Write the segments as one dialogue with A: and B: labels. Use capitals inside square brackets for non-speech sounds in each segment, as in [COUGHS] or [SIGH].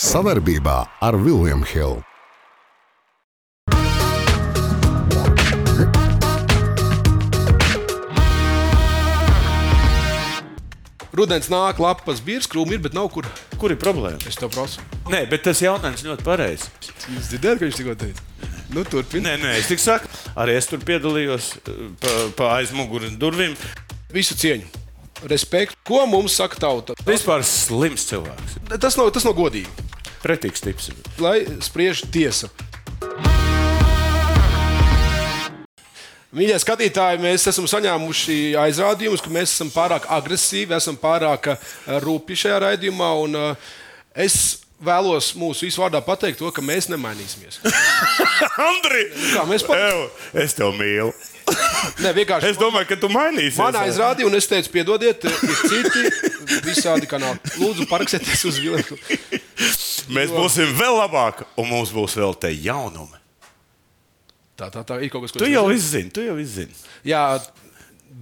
A: Savarbībā ar Vilniem Hilu.
B: Rudenis nāk, lapas birs, krūmi ir, bet nav kur.
C: Kur ir problēma?
B: Es tev prasu.
C: Nē, bet tas jautājums ļoti pareizs.
B: Jūs dzirdējāt, ka viņš tikko teica? Nu, turpiniet.
C: Nē, nē, es tik saku, arī es tur piedalījos eh, pa, pa aizmuguri durvīm.
B: Visu cieņu. Respekt. Ko mums saka tauta?
C: Vispār slims cilvēks.
B: Tas nav, tas nav godīgi.
C: Pretīgs tips.
B: Lai spriež tiesa. Mīļie skatītāji, mēs esam saņēmuši aizrādījumus, ka mēs esam pārāk agresīvi, esam pārāk eh, rūpīgi šajā raidījumā. Un, eh, es vēlos mūsu visu vārdā pateikt to, ka mēs nemainīsimies.
C: [LAUGHS] Andri!
B: Kā mēs pat-
C: Ev, es tev mīlu.
B: Nē, vienkārši
C: Es domāju, ka tu mainīsies.
B: Man aizrādīja, un es teicu, piedodiet, ir citi visādi kanāli. Lūdzu, parakstieties uz vilnu.
C: Mēs būsim vēl labāki, un mums būs vēl te jaunumi.
B: Tā, tā, tā ir kaut kas, ko
C: Tu
B: es
C: jau
B: nezinu.
C: izzini, tu jau izzini.
B: Jā,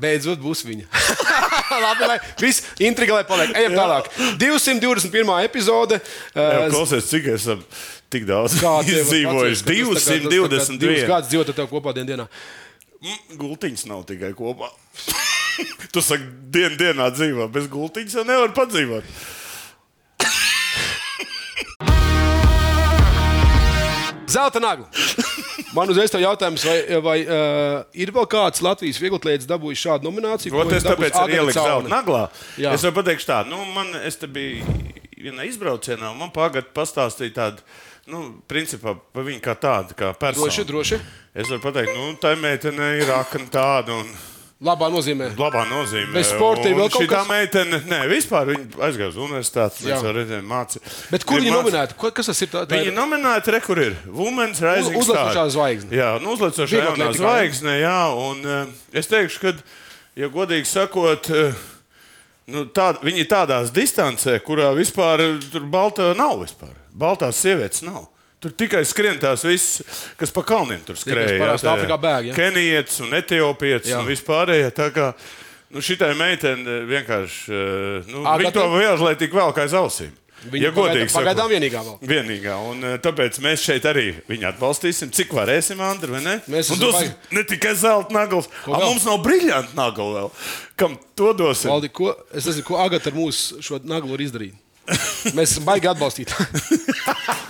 B: beidzot būs viņa. [LAUGHS] Labi, lai viss intriga lai paliek. Ejam tālāk. 221. epizode.
C: Ev,
B: eh,
C: Klausies, cik esam tik daudz
B: kā
C: [LAUGHS]
B: tev
C: izdzīvojuši.
B: atceries, ka jūs tagad- divus
C: 222.
B: gadus dzīvojat ar tevi kopā dienā.
C: Mm, Gultiņas nav tikai kopā. [LAUGHS] tu saki, dien, dienā dzīvo, bez gultiņas jau nevar padzīvot.
B: Zelta nagla. Man uzreiz ir jautājums, vai, vai uh, ir vēl kāds Latvijas vieglotnieks dabūjis šādu nomināciju?
C: Ot,
B: ko
C: es
B: ir dabūjis
C: tāpēc arī
B: Agata
C: ieliku
B: Caune?
C: zelta naglā.
B: Jā.
C: Jā. Es varu pateikt, tā, nu, man, es te biju vienā izbraucienā, un man pagātnē pastāstīja tādu, nu, principā par viņu kā tādu, kā personu.
B: Droši, droši.
C: Es varu pateikt, nu, tā meitene ir akna tāda. Un...
B: Labā nozīmē.
C: Labā nozīmē.
B: Bez sporta ir vēl kaut
C: Tā
B: kas?
C: meitene, nē, vispār viņa aizgāja uz universitāti.
B: Jā.
C: Mēs jau redzējām, mācīja.
B: Bet kur viņi nominēti? Ko- Kas tas ir? Tā, tā
C: Viņa
B: ir-
C: nominēta re, kur ir Women's Rising
B: Uz- uzlecošā
C: Star.
B: zvaigzne.
C: Jā, nu, uzlecošā
B: Vieglatlētikā,
C: jaunā
B: jā.
C: zvaigzne. Jā, un eh, es teikšu, ka, ja godīgi sakot, eh, nu, tā, viņi ir tādās distancē, kurā vispār eh, tur balta nav vispār. Baltās sievietes nav. Tur tikai skrien tās visas, kas pa kalniem tur skrēja.
B: parasti
C: tā,
B: Āfrikā bēg, jā.
C: Kenijietis un etiopietis
B: Jā.
C: un vispārējie. tā kā, Nu, Šitai meitenei vienkārši eh, nu,
B: Agata?
C: viņa to vēlas, lai tik vēl kā aiz ausīm.
B: Viņa
C: ja godīgi
B: pagaidām-
C: sakot.
B: pagaidām vienīgā vēl.
C: Vienīgā, un eh, tāpēc mēs šeit arī viņu atbalstīsim, cik varēsim, Andri, vai ne?
B: Mēs
C: un
B: esam
C: dos
B: baigi-
C: ne tikai zelta naglas,
B: Ko
C: bet
B: vēl?
C: mums nav briljanta nagla vēl. Kam to dosim?
B: Valdi, ko, es nezinu, ko Agata ar mūsu šo naglu ir izdarījusi. Mēs esam
C: [LAUGHS]
B: baigi atbalstīt.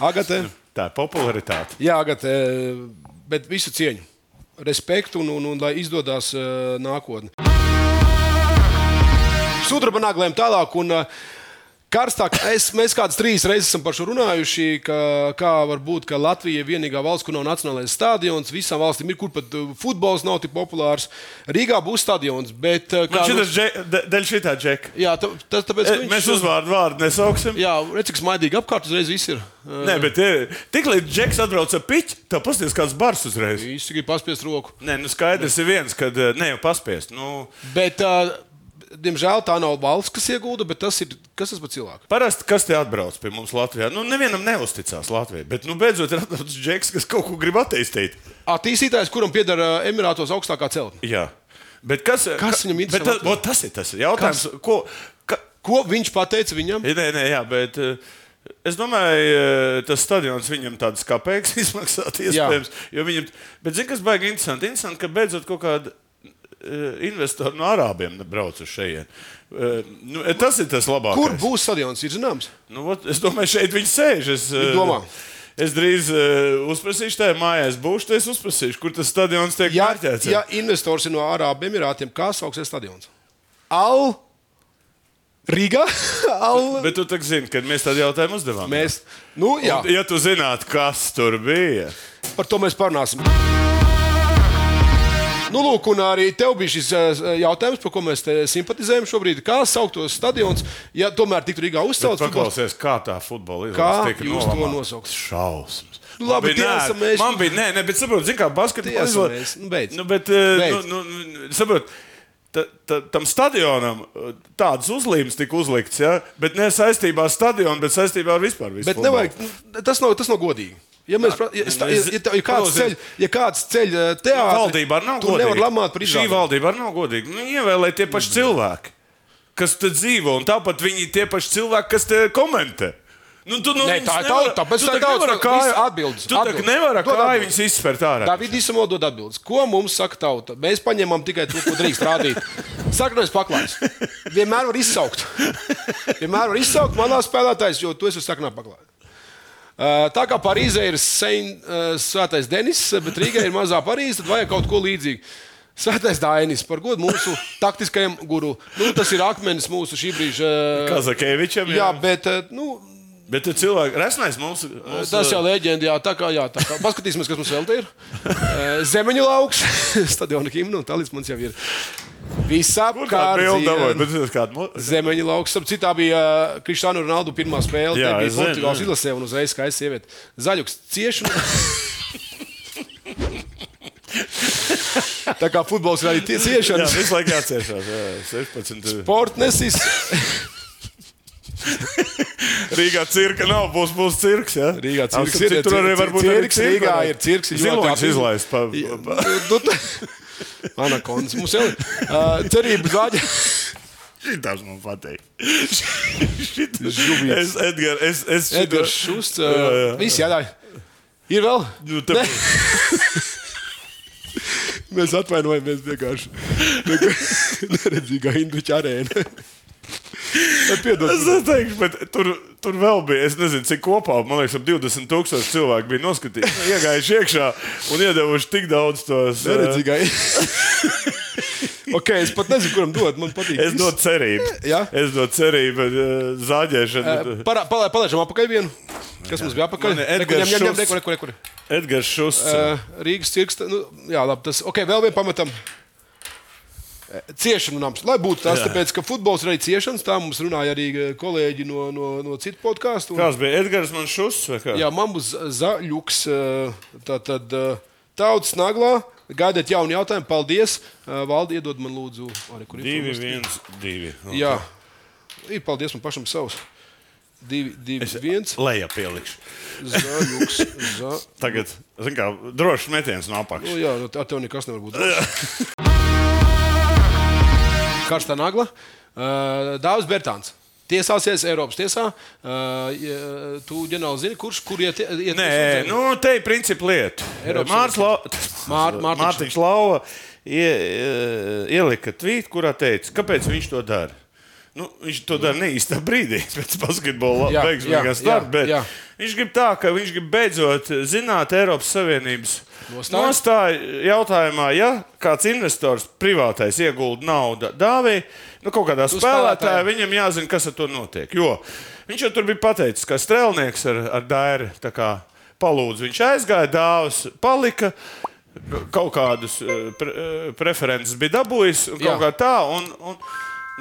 B: Agate,
C: Tā ir popularitāte.
B: jā, Agate, bet visu cieņu. Respektu un, un, un lai izdodas uh, nākotnē. Sudraba nagliem tālāk. Un, uh, Karstāk, es, mēs kādas trīs reizes esam par šo runājuši, ka, kā var būt, ka Latvija ir vienīgā valsts, kur nav nacionālais stadions. Visām valstīm ir, kur pat uh, futbols nav tik populārs. Rīgā būs stadions, bet uh,
C: Man
B: nu-
C: šitas dže- de- Dēļ šitā džeka.
B: Jā, tā, tas tāpēc, ka
C: E,
B: viņš- eh,
C: Mēs uzvārdu vārdu nesauksim.
B: Jā, redziet, cik smaidīgi apkārt uzreiz viss ir. Eh,
C: Nē, bet e, tiklīdz džeks atbrauc ar piķi, tā pasties kāds bars uzreiz.
B: Visi grib paspiest roku.
C: Nē, nu skaidrs ir viens, kad e, ne jau paspiest. Nu,
B: Bet, uh, diemžēl, tā nav valsts, kas iegūda, bet tas ir kas tas par cilvēku.
C: Parasti, kas te atbrauc pie mums Latvijā, nu, nevienam neusticās Latvijai, bet, nu, beidzot, ir atnācis džeks, kas kaut ko grib attīstīt.
B: Attīstītājs, kuram pieder ā, Emirātos augstākā celtne.
C: Jā. Bet kas,
B: Kas viņam interesē
C: bet ta-
B: Latvijā?
C: ot, tas ir? Tas ir jautājums, kas? ko. Ka,
B: Ko viņš pateica viņam?
C: nē, nē, jā, bet eh, es domāju, eh, tas stadions viņam tādas kā pēks [LAUGHS] izmaksāt, iespējams. jo Viņam, bet, zini, kas baigi interesanti? Interesanti, ka beidzot kaut kāda eh, investori no arābiem brauc uz šejienes. Nu, eh, tas ir tas labākais.
B: Kur būs stadions? Ir zināms.
C: Nu, ot, es domāju, šeit viņi sēž. Es, eh,
B: domā?
C: es drīz uh, uzprasīšu, tajā mājā es būšu, tad es uzprasīšu, kur tas stadions tiek
B: Ja,
C: pārķēts.
B: ja investors ir no Arābu Emirātiem, kā sauksies stadions? Al Rīgā? [LAUGHS] Al...
C: Bet tu tak zini, kad mēs tādu jautājumu uzdevām.
B: Mēs, nu, jā,
C: Ja tu zinātu, kas tur bija,
B: par to mēs parunāsim. Nu, lūk, un arī tev bija šis eh, jautājums, par ko mēs te simpatizējam šobrīd. Kā sauktos stadions, ja tomēr tiktu Rīgā uzcelts? futbols?
C: paklausies, kā tā futbola
B: Kā
C: izlase tika
B: jūs to
C: nolamāta.
B: nosaukt?
C: Šausmas.
B: Nu, labi,
C: Man bija
B: tie
C: nē-
B: esam mēs.
C: Man bija, nē, nē bet saprotu, zini, kā
B: Tie
C: basketbola
B: esam
C: izla-
B: mēs. Nu, beidz.
C: Nu, bet, eh,
B: Beidz.
C: nu, nu, saprotu, ta, ta, tam stadionam eh, tādas uzlīmes tika uzlikts, ja? bet ne saistībā ar stadionu, bet saistībā ar vispār visu.
B: Bet
C: futbolu.
B: nevajag, nu, tas, nav, tas nav godīgi. Ja, mēs, pra- ja, sta- ja, ja, tā- ja kāds
C: Nu, Klausies.
B: ceļ, ja kāds ceļ eh, teātri,
C: Valdība arī nav
B: tu
C: godīga.
B: nevar lamāt par
C: Šī
B: izrādi.
C: valdība arī nav godīga. Nu, ievēlēt tie paši cilvēki, kas te dzīvo, un tāpat viņi ir tie paši cilvēki, kas te komentē. Nu, tu, nu,
B: Nē,
C: viņus
B: tā ir
C: nevar-
B: tauta, tāpēc
C: tu
B: tā ir
C: tak
B: tauta,
C: nevari
B: nu,
C: kāju-
B: viss- atbildes,
C: Tu tak
B: atbildes.
C: nevari ar
B: Dod
C: kāju
B: atbildes.
C: viņus izspērt ārā.
B: Davids Isamo dod atbildes. Ko mums saka tauta? Mēs paņemam tikai to, ko drīkst rādīt. Sakrais paklājs. Vienmēr var izsaukt. Vienmēr var izsaukt manā spēlētājs, jo tu esi saknā paklājs. Uh, Tā kā Parīzē ir Saint, uh, Svētais Denis, bet Rīgā ir mazā Parīze, tad vajag kaut ko līdzīgu. Svētais Dainis, par godu mūsu taktiskajam guru. Nu, tas ir akmenis mūsu šī brīža. uh,
C: Kazakevičam.
B: Jā, bet uh, nu,
C: Bet tu cilvēki, resnais mums, mums
B: tas jau ir leģenda. Jā, tā kā, jā, tā kā. Paskatīsimies, kas mums vēl te ir. Uh, Zemeņu lauks, [LAUGHS] stadiona imna un tālāk mums jau ir. Visā
C: Kur tā bilde dabūja?
B: kārtībā.
C: Bet tas kādu mo-
B: Zemeņa lauks, ap citā bija uh, Kristiāna Ronaldu pirmā spēle.
C: Jā,
B: Jā, bija
C: es zinu,
B: Portugāles
C: jā.
B: izlasē un uzreiz skaists sieviete. Zaļuks cieši. Un... Tā kā futbols ir arī tie-
C: Jā,
B: ciešanas.
C: visu laiku jāciešās. Jā,
B: [LAUGHS]
C: 16.
B: Portnesis,
C: Rīgā cirka nav, būs, būs cirks. Jā.
B: Rīgā
C: Ap
B: cirks
C: citu
B: ir, jā,
C: Tur arī
B: cir-
C: var būt
B: cirks, Rīgā ir cirks, ir ļoti
C: Ziloņš
B: apjūts.
C: izlaist. Pa,
B: [LAUGHS]
C: pa.
B: Anakondas, mums jau ir uh, cerība zaļa.
C: Šitās man patīk.
B: Žubjets.
C: es, Edgar, es, es šito-
B: Edgars Šusts.
C: Jā, jā.
B: Viss jādara. Ir vēl?
C: Nu, te-
B: Nē. Mēs atvainojamies [LAUGHS] vienkārši. Neredzīgā Indriča arēna.
C: Es
B: Piedod.
C: teikšu, bet tur, tur vēl bija, es nezinu, cik kopā, man liekas, ap 20 000 cilvēku bija noskatījušies, iegājuši iekšā un iedevuši tik daudz tos. eh,
B: Neredzīgā. [LAUGHS] ok, es pat nezinu, kuram dot. Man patīk.
C: Es dodu cerību.
B: Jā?
C: Es dodu cerību, eh, zāģēšana.
B: Parā, palai, palaidām apakaļ vienu. Kas mums bija apakaļ?
C: Man ir
B: Reku, ņem,
C: Edgars
B: ņem, ņem,
C: Šusts.
B: reku, reku, reku.
C: Edgars Šusts.
B: Uh, Rīgas cirksta. Nu, jā, labi. Tas, ok, vēl vien pamatam. Eh, Ciešanu nams. Lai būtu tas,
C: Jā.
B: tāpēc, ka futbols ir arī ciešanas. Tā mums runāja arī eh, kolēģi no, no, no citu podkāstu.
C: Kāds bija Edgars man Šusts? vai kā?
B: Jā, mammas zaļuks. eh, Tātad eh, tautas naglā. Gaidiet jaunu jautājumu. Paldies. Eh, Valdi, iedod man lūdzu. Arī, kur ir
C: Divi,
B: filmas?
C: viens, divi.
B: Jā. Ir paldies man pašam savs. Divi, divi, es...
C: [LAUGHS]
B: viens.
C: Lejā pielikšu.
B: Zaļuks. Za...
C: Tagad, zin kā, drošs metiens no
B: Nu,
C: apakšas.
B: jā, nu, tā tev nekas nevar būt. [LAUGHS] Karstā nagla. Uh, Dāvis Bērtāns. Tiesāsies Eiropas tiesā. Uh, ja- tu ģenerāli zini, kurš kur iet? iet
C: Nē, nu, te ir principi lieta.
B: Eiropas
C: Mārcis Lau...
B: Mār- Mārtiņš.
C: Mārtiņš Lauva ie, ie- ielika tvītu, kurā teica, kāpēc viņš to dara. Nu, viņš to dara ne īstā brīdī, [LAUGHS] pēc basketbola
B: Jā, jā,
C: beigās darba.
B: jā,
C: bet
B: jā.
C: Viņš grib tā, ka viņš grib beidzot zināt Eiropas Savienības
B: Nostāju?
C: nostāju jautājumā, ja kāds investors privātais iegulda naudu dāvī, nu, kaut kādā spēlētājā,
B: spēlētāju.
C: viņam jāzina, kas ar to notiek. Jo viņš jau tur bija pateicis, ka strēlnieks ar, ar dairu tā kā palūdz. Viņš aizgāja, dāvās, palika. Kaut kādas eh, pre, eh, preferences bija dabūjis, un
B: Jā.
C: kaut kā tā. Un, un,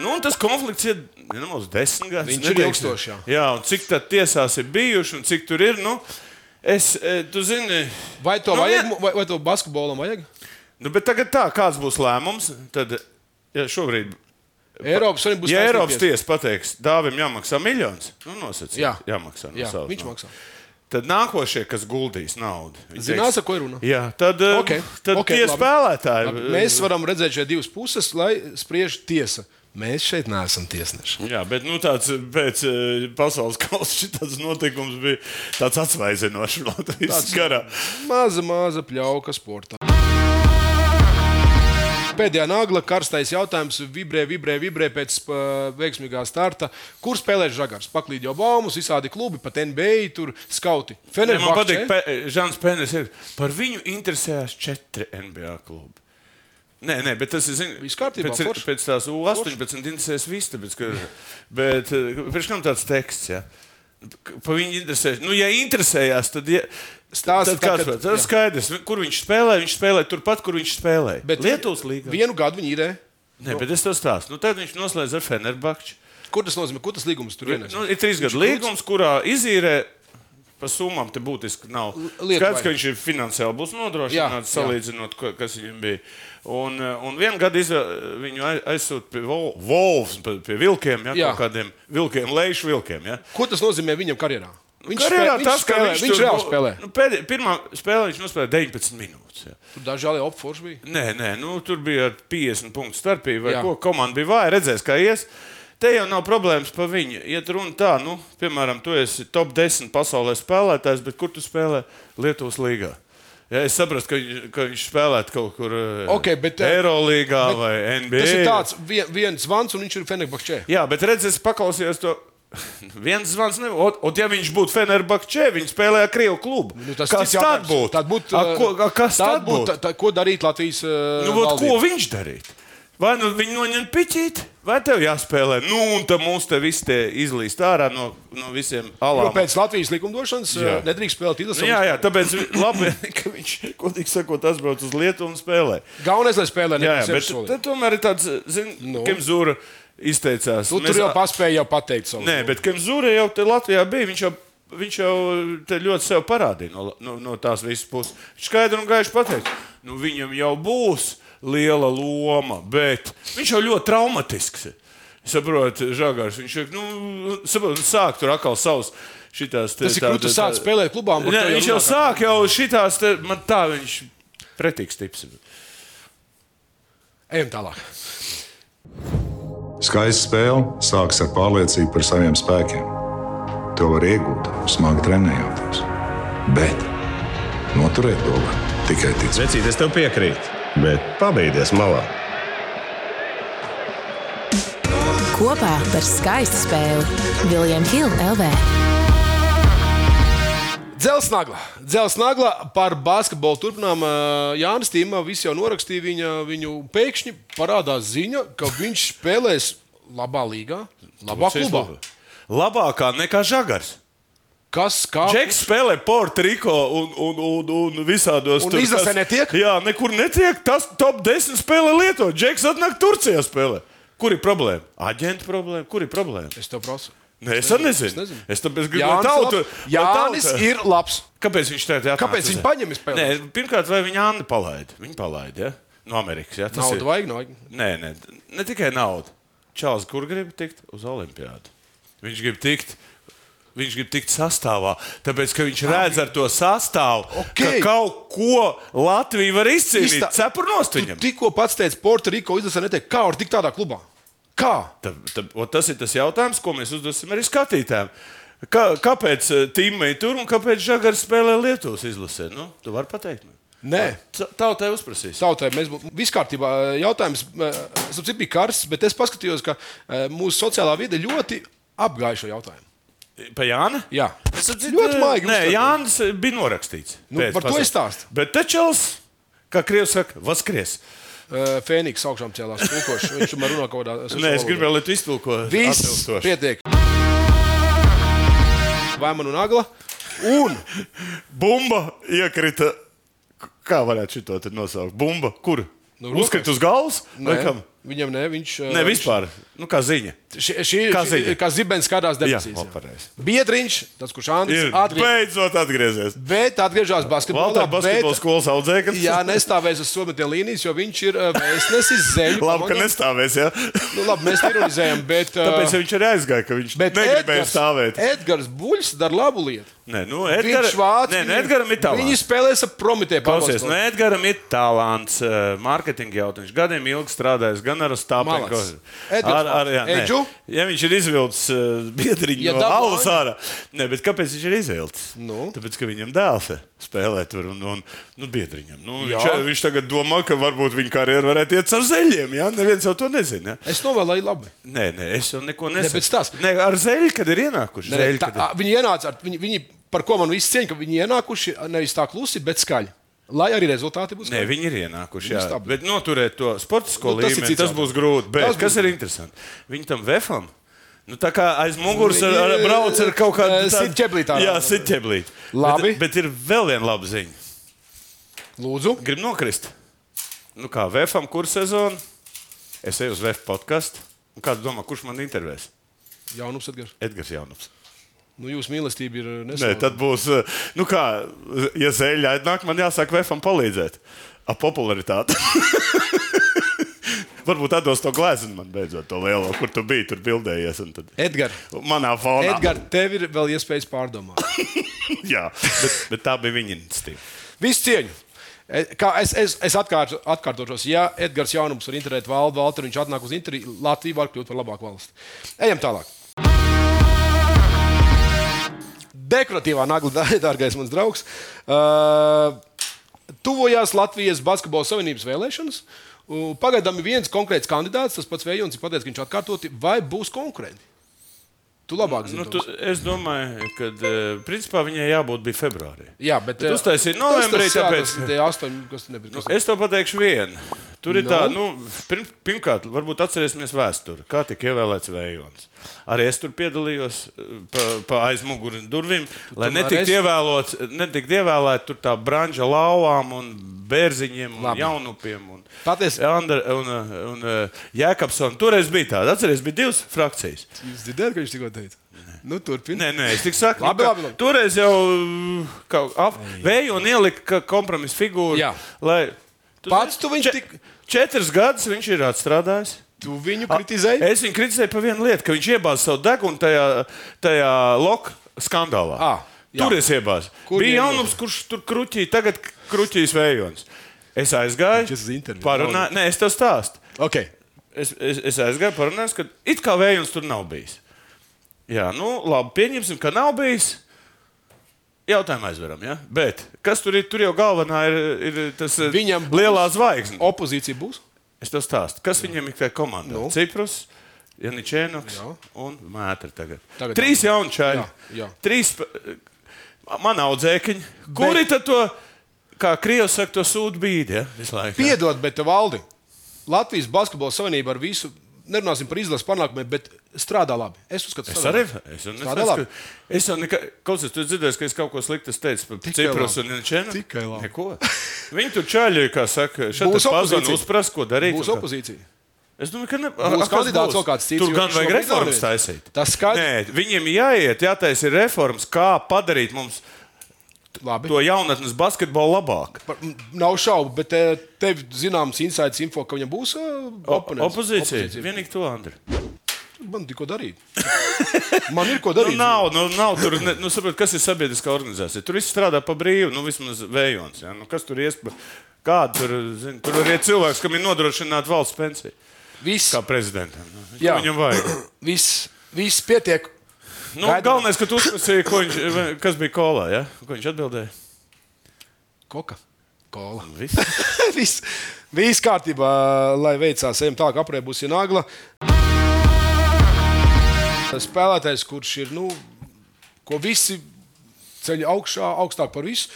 C: nu, un tas konflikts ir ja nemaz desmit gadus.
B: Viņš ir
C: nedrīkst-
B: ilgstošs, jā.
C: Jā, un cik tā tiesās ir bijuši un cik tur ir. Nu, es, e, tu zini,
B: Vai to,
C: Nu,
B: nu, vajag,
C: ne-
B: mu- vai, vai to basketbolam vajag?
C: nu, bet tagad tā, kāds būs lēmums, tad ja šobrīd.
B: Eiropas Savienība būs
C: Ja
B: taisnība
C: Eiropas
B: tiesa.
C: tiesa pateiks, dāvim jāmaksā miljons, nu nosacīt,
B: Jā.
C: jāmaksā. No
B: Jā,
C: savas
B: viņš
C: naudas.
B: maksā.
C: Tad nākošie, kas guldīs naudu, viņi
B: Zinās,
C: teiks-
B: ar ko ir runa?
C: Jā, tad, e,
B: Ok,
C: tad
B: ok,
C: tie
B: labi.
C: spēlētāji.
B: Labi,
C: e,
B: Mēs varam redzēt šeit divas puses, lai spriež tiesa. Mēs šeit neesam tiesneši.
C: Jā, bet nu, tāds pēc e, pasaules [LAUGHS] kausa šis notikums bija tāds atsvaidzinošs Latvijas garā.
B: Maza, maza pļauka sportā. Pēdējā nagla, karstais jautājums. Vibrē, vibrē, vibrē pēc uh, veiksmīgā starta. Kur spēlē žagars? Paklīd jau baumas, visādi klubi, pat NBA, tur skauti.
C: Ne, man
B: Fenerbahce.
C: patīk, ka Žants Pēners ir. Par viņu interesējās četri NBA klubi. Nē, nē, bet tas ir. Zin,
B: Viss kārtībā,
C: pēc,
B: forši.
C: pēc tās U-18 interesēs viss, tāpēc, ka, bet eh, pēc tam tāds teksts. Ja? Pa viņu interesēs. Nu, ja interesējās, tad. Ja,
B: Stāsti,
C: tad kāds,
B: tā, kad-
C: tas ir skaidrs. Kur viņš spēlē, viņš spēlē turpat, kur viņš spēlē.
B: Bet
C: Lietuvas līnija.
B: Vienu gadu viņi īrē.
C: Nē, bet es to stāstu. Nu, tad viņš noslēdz ar Fenerbakču.
B: Kur tas nozīmē? Kur tas līgums tur vienais?
C: Nu, ir trīs gadu līgums, kurā izīrē. Par summām te būtiski nav.
B: Lietuvai.
C: Skaidrs, ka viņš ir finansiāli būs
B: Jā, jā.
C: nodrošināts, salīdzinot, ko- kas viņam bija. Un, eh, un vienu gadu izvē- viņu ai- aizsūta pie vol- Wolves, pa- pie vilkiem, ja,
B: Jā.
C: kaut kādiem vilkiem, lejušu vilkiem. Ja.
B: Ko tas nozīmē viņam karjerā? Viņš
C: Nu, Karjerā
B: spēlē,
C: tas,
B: viņš
C: ka
B: spēlē, viņš
C: tur
B: reāli
C: bū-
B: spēlē.
C: Nu, pēdē- pirmā spēlē viņš nospēlēja 19 minūtes. Ja.
B: Tur dažādi opforši bija.
C: Nē, nē, nu, tur bija ar 50 punktu starpība, vai
B: Jā.
C: jā. ko komanda bija vāja. Redzēs, kā ies. Te jau nav problēmas par viņu. Iet runa tā, nu, piemēram, tu esi top 10 pasaulē spēlētājs, bet kur tu spēlē Lietuvas līgā? Ja es saprotu, ka, viņš- ka viņš spēlētu kaut kur
B: Ok, bet, eh,
C: Eirolandā
B: bet
C: vai NBA.
B: Tas ir tāds vien- viens zvans, un viņš ir Fenerbahčē.
C: Jā, bet redziet, es paklausījos to. Viens zvans, ne, un, un ja viņš būtu Fenerbahčē, viņš spēlēja Krievu klubu.
B: Nu,
C: kas
B: cits
C: tad
B: jautājums.
C: būtu?
B: Tad būtu, uh,
C: A, ko, a, kas
B: tad
C: tad būtu?
B: tā- Ko darīt Latvijas uh,
C: Nu, vot, ko viņš darītu? Vai nu viņi noņem piķīt, vai tev jāspēlē? Nu, un tad mums te viss te izlīst ārā no, no visiem
B: Jo
C: alām.
B: pēc Latvijas likumdošanas jā.
C: Jā.
B: nedrīkst spēlēt
C: Nu, jā,
B: izlases.
C: jā, tāpēc
B: [COUGHS]
C: vi- labi, ka viņš, godīgi sakot, atbrauc uz Lietuvu un spēlē.
B: Galvenais, lai spēlē
C: Jā, jā bet
B: nevis
C: tad tomēr ir tāds, zin,
B: Nu.
C: nu. Kim Zūra izteicās.
B: Tu Nu, tur jau paspēji jau pateikt savu.
C: Nē, bet Kemzūra jau te Latvijā bija. Viņš jau, viņš jau te ļoti sev parādīja no, no, no tās visas puses. Viņš skaidri un gaiši pateica, nu viņam jau būs liela loma, bet viņš jau ļoti traumatisks. ir. Saprotu, Žagars, viņš jau nu, saprot, nu, sāk tur atkal savus. Šitās, te,
B: Tas ir grūti sākt spēlēt klubā.
C: Nē, viņš jau sāk jau šitās, te, man tā viņš pretīgs tips. ir.
B: Ejam tālāk.
D: Skaista spēle sākas ar pārliecību par saviem spēkiem. To var iegūt, smagi trenējot. Bet noturēt to var tikai ticēt.
E: Vecīt, es tev piekrītu, bet pabeigties malā.
F: Kopā par skaistu spēli Viljams Hilde LV.
B: Dzelsnagla. Dzelsnagla par basketbolu turpinām. ā, Jānis Tīmā viss jau norakstīja viņa, viņu. Pēkšņi parādās ziņa, ka viņš spēlēs labā līgā, labā klubā.
C: Labākā nekā Žagars.
B: Kas kā?
C: Džeks spēlē portriko un, un, un, un visādos
B: Un
C: tur,
B: izlasē
C: kas-
B: netiek?
C: Jā, nekur netiek. Tas top 10 spēlē Lietuvā. Džeks atnāk Turcijā spēlē. Kur ir problēma? Aģenta problēma. Kur ir problēma?
B: Es tev prasu.
C: Nē, es arī nezinu.
B: es nezinu.
C: Es tāpēc gribu
B: Jānis, labs.
C: Jānis tautu. man
B: Jānis
C: tauta-
B: ir labs.
C: Kāpēc viņš tādā veidā?
B: Kāpēc viņi paņem vispār?
C: Nē, pirmkārt, vai viņa Anna palaida? Viņa palaida, ja? No Amerikas, ja? Tas
B: Naudu
C: ir.
B: vajag, nav.
C: Nē, nē, ne tikai naudu. Čāls, kur grib tikt uz Olimpiādu? Viņš grib tikt. Viņš grib tikt sastāvā, tāpēc ka viņš redz ar to sastāvu,
B: Okei.
C: ka kaut ko Latvija var izcīnīt.
B: Iztā-
C: Cepurnos
B: Tu
C: viņam.
B: tikko pats teici, Puerto Rico izlasē netiek. Kā var tikt tādā klubā? Kā?
C: Ta, ta, o, tas ir tas jautājums, ko mēs uzdosim arī skatītājiem. Kā, kāpēc tīmēji tur un kāpēc Žagars spēlē Lietuvas izlasē? Nu, tu vari pateikt. man.
B: Nē.
C: Ta- Tautai uzprasīs.
B: Tautai mēs bū- vispār kārtībā. Jautājums, eh, kāpēc bija karsts, bet es paskatījos, ka eh, mūsu sociālā vide ļoti apgāja šo jautājumu.
C: Pa Jāna?
B: Jā.
C: tas ir
B: Ļoti maigi
C: eh, Nē,
B: uztver.
C: Jānis eh, bija norakstīts.
B: Nu,
C: pēc
B: par to
C: pasaules.
B: es stāstu.
C: Bet Tečels, kā krievs saka, vaskries.
B: Eh, Fēniks augšām cēlās kūkoši. Viņš man runā kaut kādā
C: [LAUGHS] Nē, es gribēju, lai tu iztulko
B: Viss
C: atbilstoši.
B: pietiek. Vai man un agla? Un
C: Bumba iekrita. K- Kā varētu šito te nosaukt? Bumba, kur?
B: Nu,
C: Nu,
B: rokās.
C: Uzkrita uz galvas? Vai
B: nē,
C: kam?
B: viņam nē, viņš. eh,
C: Nē,
B: viņš-
C: vispār. Nu, kā ziņa.
B: Šī, šī,
C: Kā
B: šī,
C: ziņa.
B: kā zibens skatās debesīs.
C: Jā, pareizi.
B: Biedriņš, tas kurš Andris
C: Ir
B: atgriež,
C: beidzot atgriezies.
B: bet atgriežas
C: Valdā
B: basketbolā.
C: basketbola
B: bet-
C: skolas audzēknis.
B: Jā, nestāvēs uz sometiem līnijas, jo viņš ir eh, vēstnesis zeļu.
C: [LAUGHS] Labi, ka
B: komandai.
C: nestāvēs,
B: [LAUGHS]
C: jā.
B: Nu, labi, mēs ironizējam, bet. eh,
C: Tāpēc viņš arī aizgāja, ka viņš
B: bet
C: negribēja
B: Edgars-
C: stāvēt.
B: Edgars Buļs dara labu lietu.
C: Nē, nu,
B: Edgar,
C: Edgara,
B: viņš vāc.
C: nē, nē,
B: viņu-
C: Edgaram ir tālāk.
B: Viņi spēlēs ar prometēju
C: Klausies, no Edgars ir talants, eh, mārketinga jautājums. Gadiem ilgi strādājis gan ar
B: Malacis.
C: Stāpēnu, gan
B: Edgars
C: ar, ar jā, nē.
B: Edžu?
C: Ja viņš ir izvilcis eh, biedriņu
B: Ja
C: ja no
B: dabū
C: alus
B: Aņu?
C: ārā, nē, bet kāpēc viņš ir izvilcis?
B: Nu?
C: Tāpēc, ka viņam dēls ir spēlē tur un, un nu, biedriņam. Nu,
B: Jā.
C: viņš, eh, viņš tagad domā, ka varbūt viņa karjera varētu iet caur zeļiem. Jā, neviens jau to nezina. Ja?
B: Es novēlēju labi.
C: Nē, nē, es jau neko
B: bet
C: nesaku.
B: stāsti.
C: nē, ar zeļu, kad ir ienākuši.
B: Nē, nē,
C: Zeļi,
B: tā,
C: kad ir-
B: ā, viņi ienāca, ar, viņi, viņi, par ko man viss cieņa, ka viņi ienākuši nevis tā klusi, bet skaļi. Lai arī rezultāti būs.
C: Nē,
B: skaļi.
C: viņi ir ienākuši.
B: Viņi
C: Jā,
B: stabili.
C: bet noturēt to sportisko
B: Nu,
C: nu,
B: tas ir
C: līmeni,
B: cits
C: tas, tas
B: jautājums.
C: būs grūti. Bet
B: Tas
C: tas
B: būs
C: kas būs. ir
B: grūti.
C: interesanti? Viņi tam vefam. Nu, tā kā aiz muguras ar, ar, brauc ar kaut kādu
B: Eh, sit ķeblī tā.
C: Jā, sitķeblīt.
B: Labi.
C: Bet, bet ir vēl viena laba ziņa.
B: Lūdzu,
C: Gribu nokrist. Nu kā vefam, kur sezona? Es eju uz vefa podkāstu. Un kāds domā, kurš man intervēs?
B: jaunums atgriež.
C: Edgars Jaunups.
B: Nu, jūsu mīlestība ir
C: Nē,
B: nesamērā.
C: tad būs, eh, nu kā, ja zēļa atnāk, man jāsāk vefam palīdzēt ar popularitāti. [LAUGHS] Varbūt atdos to glāziņu man beidzot, to lielo, kur tu biji, tur bildējies. un Tad...
B: Edgars,
C: Manā fonā. [LAUGHS]
B: Edgar, tev ir vēl iespējas pārdomāt.
C: Jā, bet, bet tā bija viņa institīva.
B: Visu cieņu! e, kā es, es, es atkārš, atkārtošos, ja Edgars Jaunums var interēt valdu, Valteru, viņš atnāk uz Interi, Latvija var kļūt par labāku valsti. Ejam tālāk. Dekoratīvā nagla, [LAUGHS] dārgais mans draugs. Uh, tuvojās Latvijas Basketbola Savienības vēlēšanas. U, Pagaidām ir viens konkrēts kandidāts, tas pats Vējons, ir pateicis, ka viņš atkārtoti vai būs konkurenti. Tu labāk zini.
C: Nu,
B: to
C: tu,
B: visu.
C: es domāju, ka eh, principā viņai jābūt bija februārī.
B: Jā, bet
C: Tu uztaisīji novembrī, tāpēc- Nu,
B: Tā ir 8, kas tur nebija.
C: Es to pateikšu vienu. Tur ir
B: Nu?
C: no. tā, nu, pirm, pirmkārt, varbūt atcerēsimies vēsturi, kā tika ievēlēts Vējons. Arī es tur piedalījos eh, pa, pa aizmuguri durvīm, lai
B: tomēr
C: netiktu
B: esi?
C: ievēlots, netiktu ievēlēt tur tā branža lauvām un bērziņiem un
B: Labi.
C: Labi. jaunupiem. Un,
B: Patiesi-
C: Andra, un, eh, un eh, Jēkabson. Toreiz bija tāda, atcerieties, bija divas frakcijas.
B: Jūs dzirdējāt, ka viņš tikko teica? Nu, turpini.
C: Nē, nē, es tikai saku,
B: Labi,
C: nu, ka
B: labi, labi.
C: toreiz jau eh, ap, vēju un ielika kompromisa figūru.
B: Jā.
C: lai- tu
B: Pats
C: zini,
B: tu viņš
C: če-
B: tik-
C: Četrus gadus viņš ir atstrādājis.
B: Tu viņu
C: A- e-
B: kritizēji?
C: Es viņu kritizēju par vienu lietu, ka viņš iebāza savu degunu tajā, tajā loka skandālā.
B: Ā, Ah, jā.
C: Tur es iebāzu.
B: Kur
C: Bija
B: iebāzi?
C: jaunums, kurš tur kruķīja, tagad kruķīs vējons. Es aizgāju,
B: Viņš uz interviju.
C: parunāju, nē, es tev stāstu
B: Okay.
C: es, es, es aizgāju, parunājos, ka it kā vējums tur nav bijis. Jā, nu labi, pieņemsim, ka nav bijis. Jautājumu aizveram, ja? bet kas tur ir? Tur jau galvenā ir, ir tas eh,
B: Viņam būs-
C: lielā zvaigzne.
B: Opozīcija būs?
C: Es tev stāstu, kas viņiem ir tajā komandā.
B: Nu.
C: Nu. Ciprus, Janičēnoks
B: Jā.
C: un Mētra. Tagad.
B: Tagad
C: Tagad Trīs jaunu čaļi.
B: Jā, jā.
C: Trīs man audzēkiņi. Kuri tad to, kā Krievs saka, to sūta bīdi ja? visu laiku? ja?
B: Piedod, bet valdi. Latvijas Basketbola Savienība ar visu, nerunāsim par izlases panākumiem, bet strādā labi. Es uzskatu,
C: Es
B: strādā
C: arī
B: labi.
C: es jau
B: Strādā labi.
C: nesaku, ka es jau nekad, kaut kas, tu dzirdēji, ka es kaut ko sliktu es teicu par
B: Tikai
C: Ciprus
B: labi.
C: un Čēnu.
B: Tikai labi.
C: Neko. Viņi tur čāļoja, kā saka, šeit
B: Būs
C: tas pazvan
B: opozīcija.
C: uzprast, ko darīt.
B: Būs
C: un tā.
B: opozīcija.
C: Es domāju, ka ne. a- a,
B: Būs
C: kas
B: kandidāts
C: būs?
B: vēl kāds cits.
C: Tur
B: jo
C: gan
B: viņš
C: vajag
B: šobrīd
C: reformas
B: nav
C: taisīt.
B: Tas skaidrs.
C: Nē, viņiem jāiet, jātaisa reformas, kā padarīt mums
B: Labi.
C: to jaunatnes basketbolu labāk.
B: Par- m, Nav šaubu, bet eh, tev zināms insights info, ka viņam būs eh,
C: O-
B: oponents.
C: Opozīcija. Vienīgi to, Andri.
B: Nu, Man ir ko darīt. Man ir ko
C: Nu,
B: darīt.
C: nav, nu, nav tur, ne, nu, saprot, kas ir sabiedriskā organizācija. Tur viss strādā pa brīvu, nu, vismaz vējons. Ja? Nu, kas tur iespa? Kāda tur, zin, tur arī ir cilvēks, kam ir nodrošināta valsts pensija?
B: Viss,
C: Kā prezidentam. Nu, ko
B: Jā.
C: Viņam vajag.
B: viss, viss pietiek.
C: Nu,
B: Gaidām.
C: galvenais, ka tu uzprasīji, ko viņš, vai- kas bija kolā. Ja? Ko viņš atbildēja?
B: Koka. Kola.
C: Viss.
B: [LAUGHS] viss, viss kārtībā, lai veicās. Ejam tālāk, apgājā būs Nāgla. Spēlētājs, kurš ir, nu, ko visi ceļ augšā, augstāk par visu.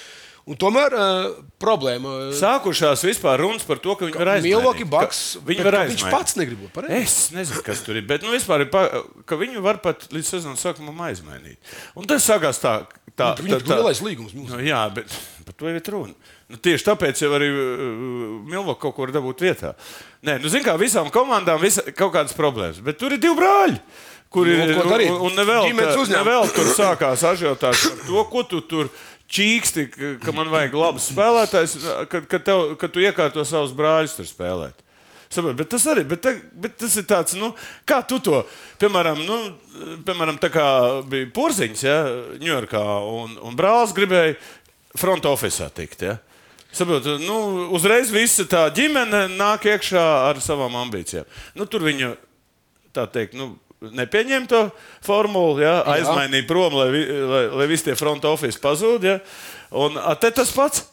B: Un tomēr uh, problēma. eh,
C: Sākušās vispār runas par to, ka viņi var aizmainīt.
B: Milwaukee
C: Ka
B: Bucks,
C: Viņi
B: bet
C: var
B: ka viņš
C: aizmainīt.
B: pats negrib būt pareizs.
C: Es nezinu, kas tur ir. Bet nu, vispār ir pa, ka viņu var pat līdz sezonas sākumam aizmainīt. Un tas sagās tā, tā, Eh, tā,
B: Viņam ir
C: tā,
B: Nu, lielais līgums. Mums.
C: Nu, jā, bet par to jau ir runa. Nu, tieši tāpēc jau arī uh, Milvaka kaut ko var dabūt vietā. Nē, nu, zināmā mērā, visām komandām ir kaut kādas problēmas. Bet tur ir divi brāļi, kuriem
B: Nu,
C: ir
B: ko darīt?
C: Un, un nevēl,
B: Ģimenes
C: tā,
B: uzņēmums.
C: nevēl tur sākās ažiotāžs par to, ko tu tur čīksti, ka- ka man vajag labus spēlētājus, kad, kad, tev- kad tu iekārto savus brāļus tur spēlēt. Saprot, bet tas arī bet te, bet tas ir tāds, nu, kā tu to, piemēram, nu, piemēram tā kā bija porziņš, ja, Ņujorkā, un, un brālis gribēja front office tikt. Ja. Saprot, nu, uzreiz visa tā ģimene nāk iekšā ar savām ambīcijām. Nu, tur viņa tā teikt, nu, nepieņem to formulu, ja, aizmainīja prom, lai, vi- lai, lai visi tie front office pazūd. Ja, un a, te tas pats.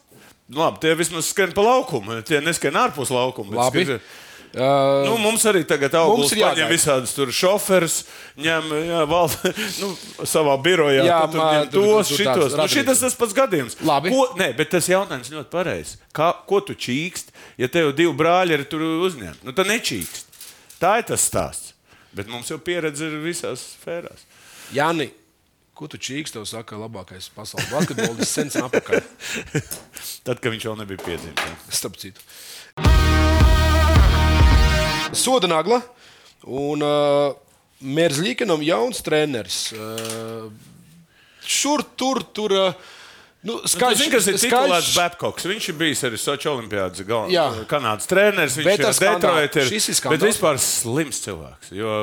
C: Nu, Labi, tie vismaz skan pa laukumu, tie neskan ārpus laukuma. bet
B: Labi.
C: skan-
B: Uh,
C: Nu, mums arī tagad augsts
B: Mums ir
C: paņem
B: jāgaida.
C: visādus tur šoferus, ņem jā, val, [LAUGHS] nu, savā birojā
B: Jā,
C: tad tur
B: mā, tur-
C: ņem tos,
B: tur tāds
C: šitos. Nu,
B: radīts.
C: šitas tas pats gadījums.
B: Labi.
C: Ko, nē, bet tas jautājums ļoti pareizs. Kā- Ko tu čīkst, ja tev divi brāļi ir tur uzņemti? Nu, tad nečīkst. Tā ir tas stāsts. Bet mums jau pieredze ir visās sfērās.
B: Jāni, ko tu čīkst, tev saka, labākais pasaules basketbolists sen sen apakaļ.
C: Tad, kad viņš vēl nebija piedzimis. ja.
B: Starp citu. Soda nagla un uh, Mērzlīkenam jauns treneris. Uh, šur, tur, tur. Uh, Nu,
C: Skaidrs,
B: skaļš,
C: zin, kas ir titulēts
B: skaļš,
C: Babkoks. Viņš ir bijis arī Sochi Olimpijādas
B: Jā.
C: galvenais kanādas treneris. Viņš
B: Bet
C: ir
B: ar skandālu.
C: Detroit. Ir,
B: Šis ir skandāls.
C: bet vispār slims cilvēks. Jo,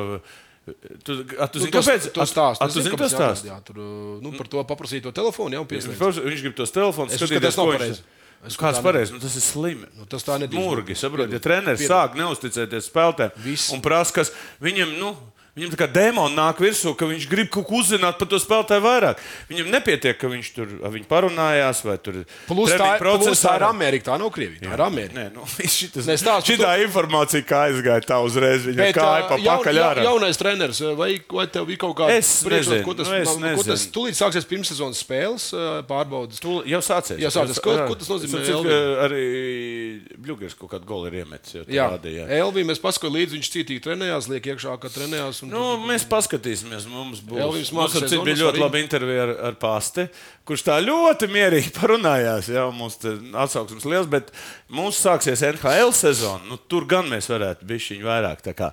C: tu, a,
B: Nu,
C: tu zini,
B: tas-
C: kāpēc?
B: to stāstu.
C: A,
B: Es
C: tu
B: zinu,
C: zini,
B: kāpēc
C: tas
B: jāatbild,
C: stāsts.
B: Jā, tur, uh, nu, par to paprasīt to telefonu, jau
C: Viņš,
B: pieslēdz.
C: protams, viņš grib tos telefonus
B: Es
C: skatīties,
B: uzskatu, tas nav
C: ko viņš-
B: pareizi. Es
C: Es kāds
B: tā ne-
C: pareizi, nu, tas ir slimi.
B: Nu, tas tā nedrīkst
C: Murgi,
B: būt.
C: saprotiet, ja
B: Piedod,
C: treneris
B: piedod.
C: sāk neusticēties spēlētājiem
B: Viss.
C: un prasa, kas viņam, nu, viņam tā kā dēmoni nāk virsū, ka viņš grib kaut ko uzzināt par to spēlētāju vairāk. Viņam nepietiek, ka viņš tur ar viņu parunājās vai tur
B: Plus tā,
C: treniņu
B: ir- plus tā
C: procesā.
B: ir Amerika, tā nav Krievija. Tā ir Amerika.
C: Nē, nu, [LAUGHS] šitas,
B: Nē, stāsti par
C: šitā informācija, kā aizgāja tā uzreiz, viņa kāja pa
B: uh, jaun-
C: pakaļ
B: ja-
C: ārā.
B: jaunais treneris, uh, vai, vai tev ir kaut
C: Es
B: kāds priekšstats,
C: nezinu,
B: ko tas
C: nu, es
B: ko tas
C: nezinu.
B: tūlīt sāksies pirmssezonas spēles eh, pārbaudas?
C: Tu jau sācies.
B: Jā, sācies. Ko- ko tas nozīmē,
C: Cik,
B: Elvin?
C: arī Bluķers kaut kādu golu ir iemetis. jau tā
B: Jā,
C: rādīja.
B: Elvis, mēs paskatījāmies līdzi, viņš cītīgi trenējās, liek iekšā, ka trenējās. Un...
C: Nu, mēs paskatīsimies, mums būs.
B: Elvis
C: Mums
B: Marks
C: ar citu
B: sezonas
C: bija ļoti
B: arī-
C: laba intervija ar, ar Pāsti, kurš tā ļoti mierīgi [LAUGHS] parunājās. Jā, mums te atsauksmes liels, bet mums sāksies NHL sezona. Nu, tur gan mēs varētu būt viņa vairāk. tā kā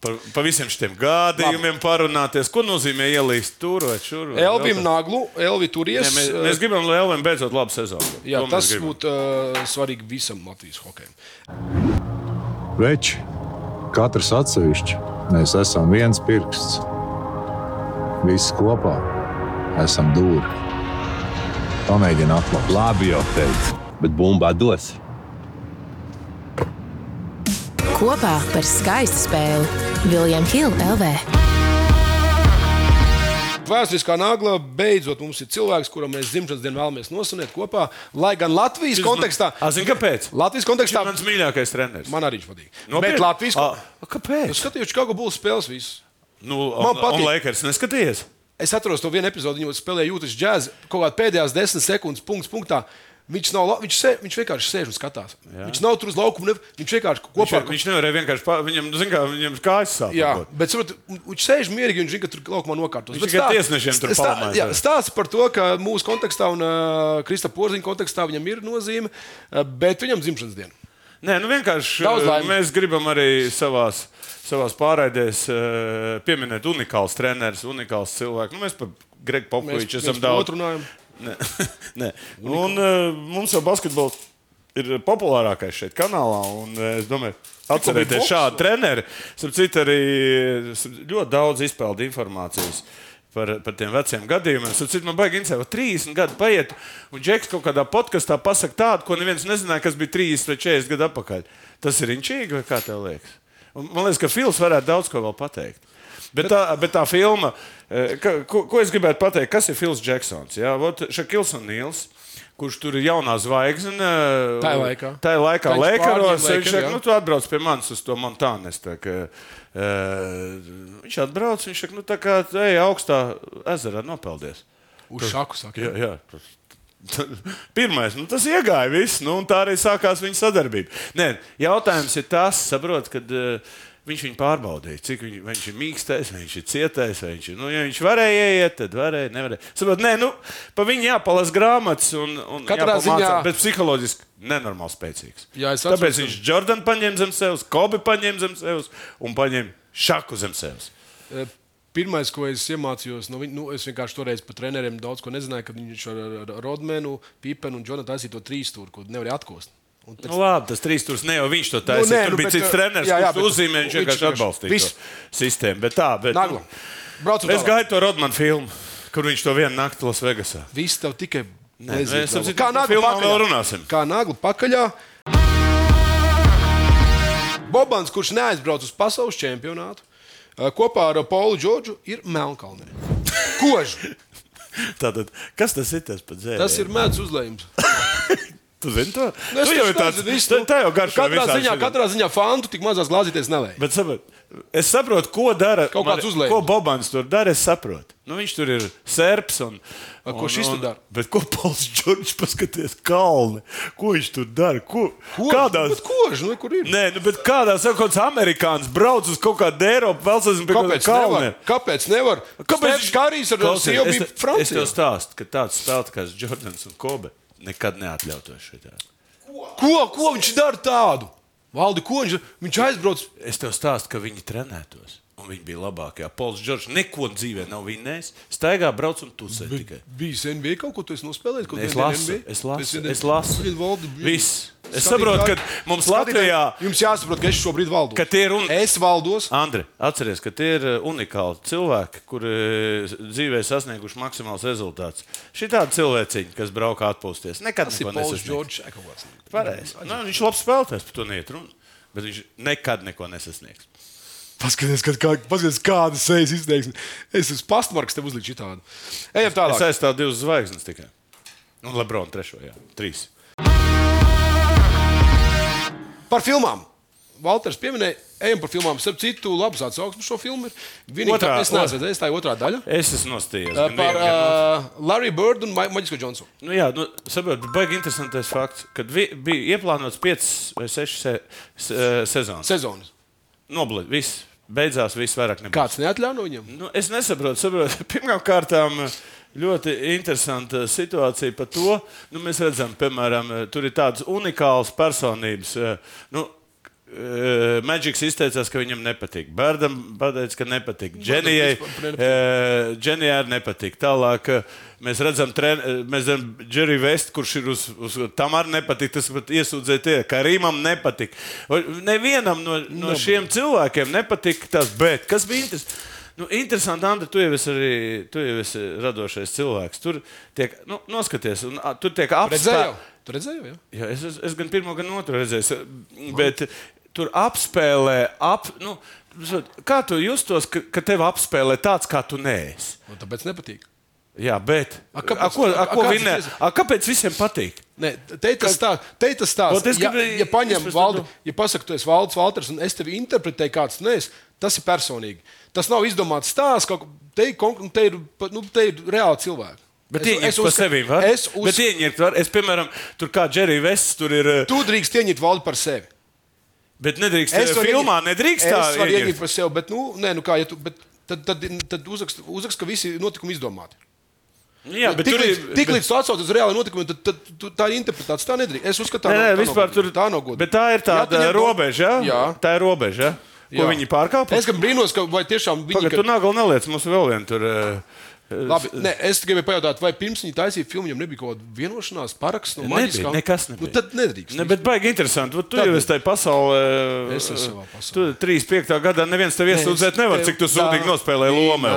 C: Par, par visiem šiem gādījumiem parunāties. Ko nozīmē ielīst tur vai šur? vai vēl
B: Elvis
C: tā?
B: Naglu, Elvis
C: Nē,
B: Turies.
C: mēs, mēs gribam, lai Elvis beidzot labu sezonu.
B: eh, Jā,
C: To mēs
B: tas
C: gribam.
B: būtu uh, svarīgi visam Latvijas hokejam.
D: Veči, katrs atsevišķi, mēs esam viens pirksts. Visi kopā esam dūri. Pamēģini atklāt.
E: Labi jau teicu, bet bumbā dos.
F: Kopā par skaistu spēli Viljams Hilde LV.
B: Vēsturiskā nagla beidzot mums ir cilvēks, kuram mēs dzimšanas dienu vēlamies nosvinēt kopā. Lai gan Latvijas kontekstā,
C: A, zini, kāpēc?
B: Latvijas
C: Viņš
B: kontekstā
C: ir mans mīļākais treneris.
B: man arī viņš patīk.
C: Nopietni? Ah.
B: Bet Latvijas
C: A,
B: kontekstā.
C: a, Kāpēc?
B: Es skatījos, kā gulēju spēles. Visu.
C: Nu,
B: Man
C: man
B: patīk.
C: patīk. Lakers neskaties.
B: Es atceros to vienu epizodi, viņa spēlēja jūtas džēzi. Kaut kā pēdējās desmit sekundes, punkts, punktā. Viņš, nav, la- viņš, sē, viņš vienkārši sēž un skatās. Jā. Viņš nav tur uz laukuma. Ne, viņš vienkārši kopā
C: Viņš, viņš nevarēja vienkārši. Pa, viņam, nu, zin, kā, viņam kājas sāp.
B: Jā,
C: varbūt.
B: bet saprot, un- viņš sēž mierīgi un viņš zina, ka tur laukumā nokārtos.
C: Viņš
B: Bet
C: tikai
B: stāsts-
C: tiesnešiem tur
B: stā-
C: palmājas,
B: jā,
C: vai?
B: Stāsts par to, ka mūsu kontekstā un uh, Krista Porziņa kontekstā viņam ir nozīme, uh, bet viņam dzimšanas diena.
C: Nē, nu vienkārši
B: Daudz
C: eh,
B: laimes.
C: mēs gribam arī savās, savās pārraidēs eh, pieminēt unikālus trenerus, unikālus cilvēkus. Nu, mēs par Gregu
B: Mēs
C: Popoviču esam
B: mēs par
C: daudz.
B: otru runājam.
C: [LAUGHS] Nē, nē. Un eh, mums jau basketbols ir populārākais šeit kanālā. Un, eh, es domāju, atcerieties
B: boks,
C: šādu treneri. Starp citu, arī esam ļoti daudz izpeldu informācijas. Par, par tiem veciem gadījumiem. Es saprotu, man baigi, ka 30 gadi paiet, un Džeks kaut kādā podkāstā pasakā tādu, ko neviens nezināja, kas bija 30 vai 40 gadi atpakaļ. Tas ir inčīgi, vai kā tev liekas? Un, man liekas, ka Fils varētu daudz ko vēl pateikt. Bet tā, bet tā filma, eh, ka, ko, ko es gribētu pateikt, kas ir Fils Džeksons? Jā, Šakils un Nils. Kurš tur ir jaunā zvaigzne? eh,
B: Tā ir
C: un
B: laikā.
C: Tā ir laikā.
B: Kad viņš
C: Lēkaros,
B: pārņem
C: viņš
B: Laker,
C: saka,
B: jā.
C: nu, tu atbrauc pie manis uz to Montānu. Es tā kā, eh, viņš atbrauc, viņš saka, nu, tā kā, ej, augstā ezerā nopeldies.
B: Uz šāku saktu.
C: Jā, jā. [LAUGHS] Pirmais, nu, tas iegāja viss, nu, un tā arī sākās viņa sadarbība. Nē, jautājums ir tas, saprot, kad uh, viņš viņu pārbaudīja, cik viņ, vai viņš ir mīkstais, vai viņš ir cietais, vai viņš ir. Nu, ja viņš varēja iet, tad varēja, nevarēja. Saprot, nē, nu, pa viņu jāpalasa grāmatas un, un
B: Katrā
C: jāpamācās,
B: ziņā-
C: bet psiholoģiski nenormāli spēcīgs.
B: Jā, es atceros,
C: Tāpēc
B: ka-
C: viņš Jordanu paņēma zem sevis, Kobi paņēma zem sevis un paņēma šaku zem sevis.
B: Pirmais, ko es iemācījos, no viņa, nu, es vienkārši toreiz par treneriem daudz ko nezināju, kad viņš ar, ar Rodmanu, Pipenu un Jonatu taisīja to trīs stūri, ko nevarēja atkost. Un pēc
C: Nu, labi, tas trīs stūris ne jau viņš to taisīja. Nu,
B: nē,
C: tur
B: nu,
C: nu, bija
B: bet,
C: cits
B: uh,
C: treneris,
B: jā, jā,
C: kurš to
B: bet
C: uzzīmēja. Viņš
B: viņš
C: vienkārši
B: vienkārši-
C: atbalstīja
B: viss.
C: to sistēmu. Bet tā, bet,
B: Nagla. Braucam
C: es
B: tālāk.
C: gāju to Rodmanu filmu, kur viņš to vienu nakti Lasvegasā.
B: Viss tev tikai
C: mēs
B: lezīts
C: ar
B: galvā.
C: citu par filmām
B: pakaļā.
C: vēl runāsim.
B: Kā nagla pakaļā. Bobans, kurš neaizbrauc uz pasaules čempionātu, eh, kopā ar Paulu Džordžu ir Melnkalnē. Kož!
C: Tātad, kas tas ir? Tas,
B: Tas ir mēdz uzlējums.
C: Tu zini to?
B: Nu, es
C: tu jau
B: taču
C: ir tāds,
B: nezinu, visu,
C: tā,
B: nu,
C: tā jau garšo.
B: Katrā
C: visādi
B: ziņā,
C: šitā.
B: katrā ziņā fantu tik mazās glāzīties nelēja.
C: Bet saprat, es saprotu, ko dara.
B: Kaut kāds
C: man-
B: uzlējums.
C: Ko Bobans tur dara, es saprotu. Nu, viņš tur ir serps un.
B: A, ko
C: un-
B: šis
C: un-
B: tur dara?
C: Bet ko Pauls Čorčs paskaties kalni? Ko viņš tur dara? Ko,
B: Bet kož, nu, kur ir?
C: Nē, nu, bet kādā sakot, amerikānis brauc uz kaut kādu Eiropu, vēl aizvien pie kaut kāda
B: Kāpēc
C: kalna.
B: nevar? Kāpēc nevar? Kāpēc
C: viņš-
B: Kārijs ar
C: Klausies,
B: sievu
C: es
B: bija
C: te- Es tev
B: Francijā?
C: stāstu, ka tāds spēlētājs kā Jordans un Kobe nekad neatļautos šitā.
B: Ko, ko viņš dara tādu? Valdi, ko viņš, viņš aizbrauc
C: Es tev stāstu, ka viņi trenētos. Un viņi bija labākie. Pols Čorčs neko dzīvē nav vinnējis. Staigā brauc un tusē tikai.
B: Bija NBA kaut ko, tu esi nospēlējis, ko
C: Es lasu, es lasu, es lasu.
B: Valdi,
C: Viss. Es saprotu, ka mums Latvijā,
B: Jums jāsaprot, ka es šobrīd valdu.
C: ka tie Ah, ir un...
B: Es valdos.
C: Andri, atceries, ka tie ir uh, unikāli cilvēki, kuri uh, dzīvē sasnieguši maksimāls rezultāts. Šī tāda cilvēciņa, kas brauc atpūsties, nekad
B: Tas ir
C: neko
B: Pols
C: nesasniegs.
B: Džordžs Ekovots.
C: Pareizi. Nu, viņš ir labs spēlētājs, par to neiet runa. Bet viņš nekad neko nesasniegs.
B: Paskaties, kad kā, paskaties kāda sejas izteiksme. Es esmu pastmarks, tev uzliku tādu. Ejam
C: Es
B: tālāk.
C: aizstāvu divas zvaigznes tikai. Un Lebrona trešo, jā, trīs.
B: Par filmām. Valters pieminēja, ejam par filmām. Starp citu, labs atsauksme šo filmu ir. Vienīgā,
C: Otrā,
B: es neesmu redzējis, tā ir otrā daļa.
C: Es esmu nostājies.
B: Uh, Par uh, Larry Bird un Ma- Maģisko Džonsu.
C: Nu, jā, nu, saprotiet, baigi interesantais fakts, ka bija ieplānots 5 vai 6 se, se, sezonas. Se...
B: Sezonas.
C: Noblis, viss beidzās, viss vairāk nebija.
B: Kāds neatļāva no viņiem?
C: Nu, es nesaprotu, [LAUGHS] saprotu. Pirmkārt, eh, ļoti interesanta situācija par to. Nu, mēs redzam, piemēram, eh, tur ir tādas unikālas personības. Nu, Maģiks izteicās, ka viņam nepatīk. Bērnam pateica, ka nepatīk. Dženijai,
B: vispār nepatīk.
C: eh, Dženijai arī nepatīk. Tālāk eh, mēs redzam, tren- eh, mēs redzam Džeriju Vestu, kurš ir uz, uz tam arī nepatīk. Tas pat iesūdzēja tie, ka Rīmam nepatīk. O, Nevienam no, no šiem cilvēkiem nepatīk tas, bet kas bija interesants? Nu, interesanti, Andri, tu jau esi arī tu jau esi radošais cilvēks. Tur tiek, nu, noskaties, un, a, tur tiek
B: Redzēju.
C: apstāstīts.
B: Tu redzēji, jā?
C: Jā, es, es, es gan pirmo, gan otru redzēju, bet tur apspēlē, ap, nu, kā tu justos, ka, ka tev apspēlē tāds, kā tu neesi.
B: Man Nu, tāpēc nepatīk.
C: Jā, bet
B: A,
C: a,
B: kāpēc-
C: kāpēc, a, ko, a,
B: a,
C: ko
B: kāds
C: vinē,
B: ir tas?
C: a, kāpēc visiem patīk?
B: Nē, te ir tas tā, te ir tas
C: Vot
B: tāds,
C: es
B: ja,
C: gribēju-
B: ja paņem
C: es nu- pēc
B: valdu,
C: tam-
B: ja pasaku, tu esi valdes valters un es tevi interpretēju kāds, nē, tas ir personīgi. Tas nav izdomāts stāsts, kaut, ko- te, ir, konk- te, ir, pa- nu, te ir reāli cilvēki.
C: Bet
B: Es-
C: viņi
B: es
C: ir par
B: uzska-
C: sevi. Var?
B: Es
C: Bet
B: uzskatu,
C: viņi ir, es, piemēram, tur kā Džerijs Vests, tur ir. Tu...
B: tu drīkst ieņemt valdi par sevi.
C: Bet nedrīkst, es
B: varu
C: filmā
B: ieņemt-
C: nedrīkst tā.
B: Es varu
C: ieņemt.
B: ieņemt par sevi, bet, nu, nē, nu kā, ja tu, bet tad, tad, tad uzrakst, uzrakst, ka visi notikumi izdomāti.
C: Jā, bet
B: tik
C: tur ir.
B: līdz, tik līdz tu atsaucies uz reālajiem notikumiem, tad, tad, tad tā ir interpretācija. Tā nedrīkst. Es uzskatu, tā
C: Nē, nē,
B: nav- tā nav
C: vispār tur
B: godīga. tā nav godīga.
C: Bet tā ir
B: Jā, tu
C: tāda
B: ņem to-
C: robeža.
B: Jā.
C: Tā ir robeža, ko
B: Jā.
C: viņi pārkāpa.
B: Es gan brīnos, ka vai tiešām viņi
C: Pagaidā,
B: ka-
C: tur nākamā neliec mums vēl vienu. Tur, eh,
B: Labi, nē, es gribēju pajautāt, vai pirms viņi taisīja filmu, viņam nebija kaut kāda vienošanās, paraksts no
C: Nebija,
B: maģiskām?
C: nekas nebija.
B: Nu, tad nedrīkst.
C: Ne, bet baigi interesanti. Vat Tu
B: Tad-
C: jau esi tajā pasaulē.
B: Es esmu savā pasaulē.
C: Tu 35. gadā neviens tev iesūdzēt nevar, cik tu sūdīgi nospēlēji lomu.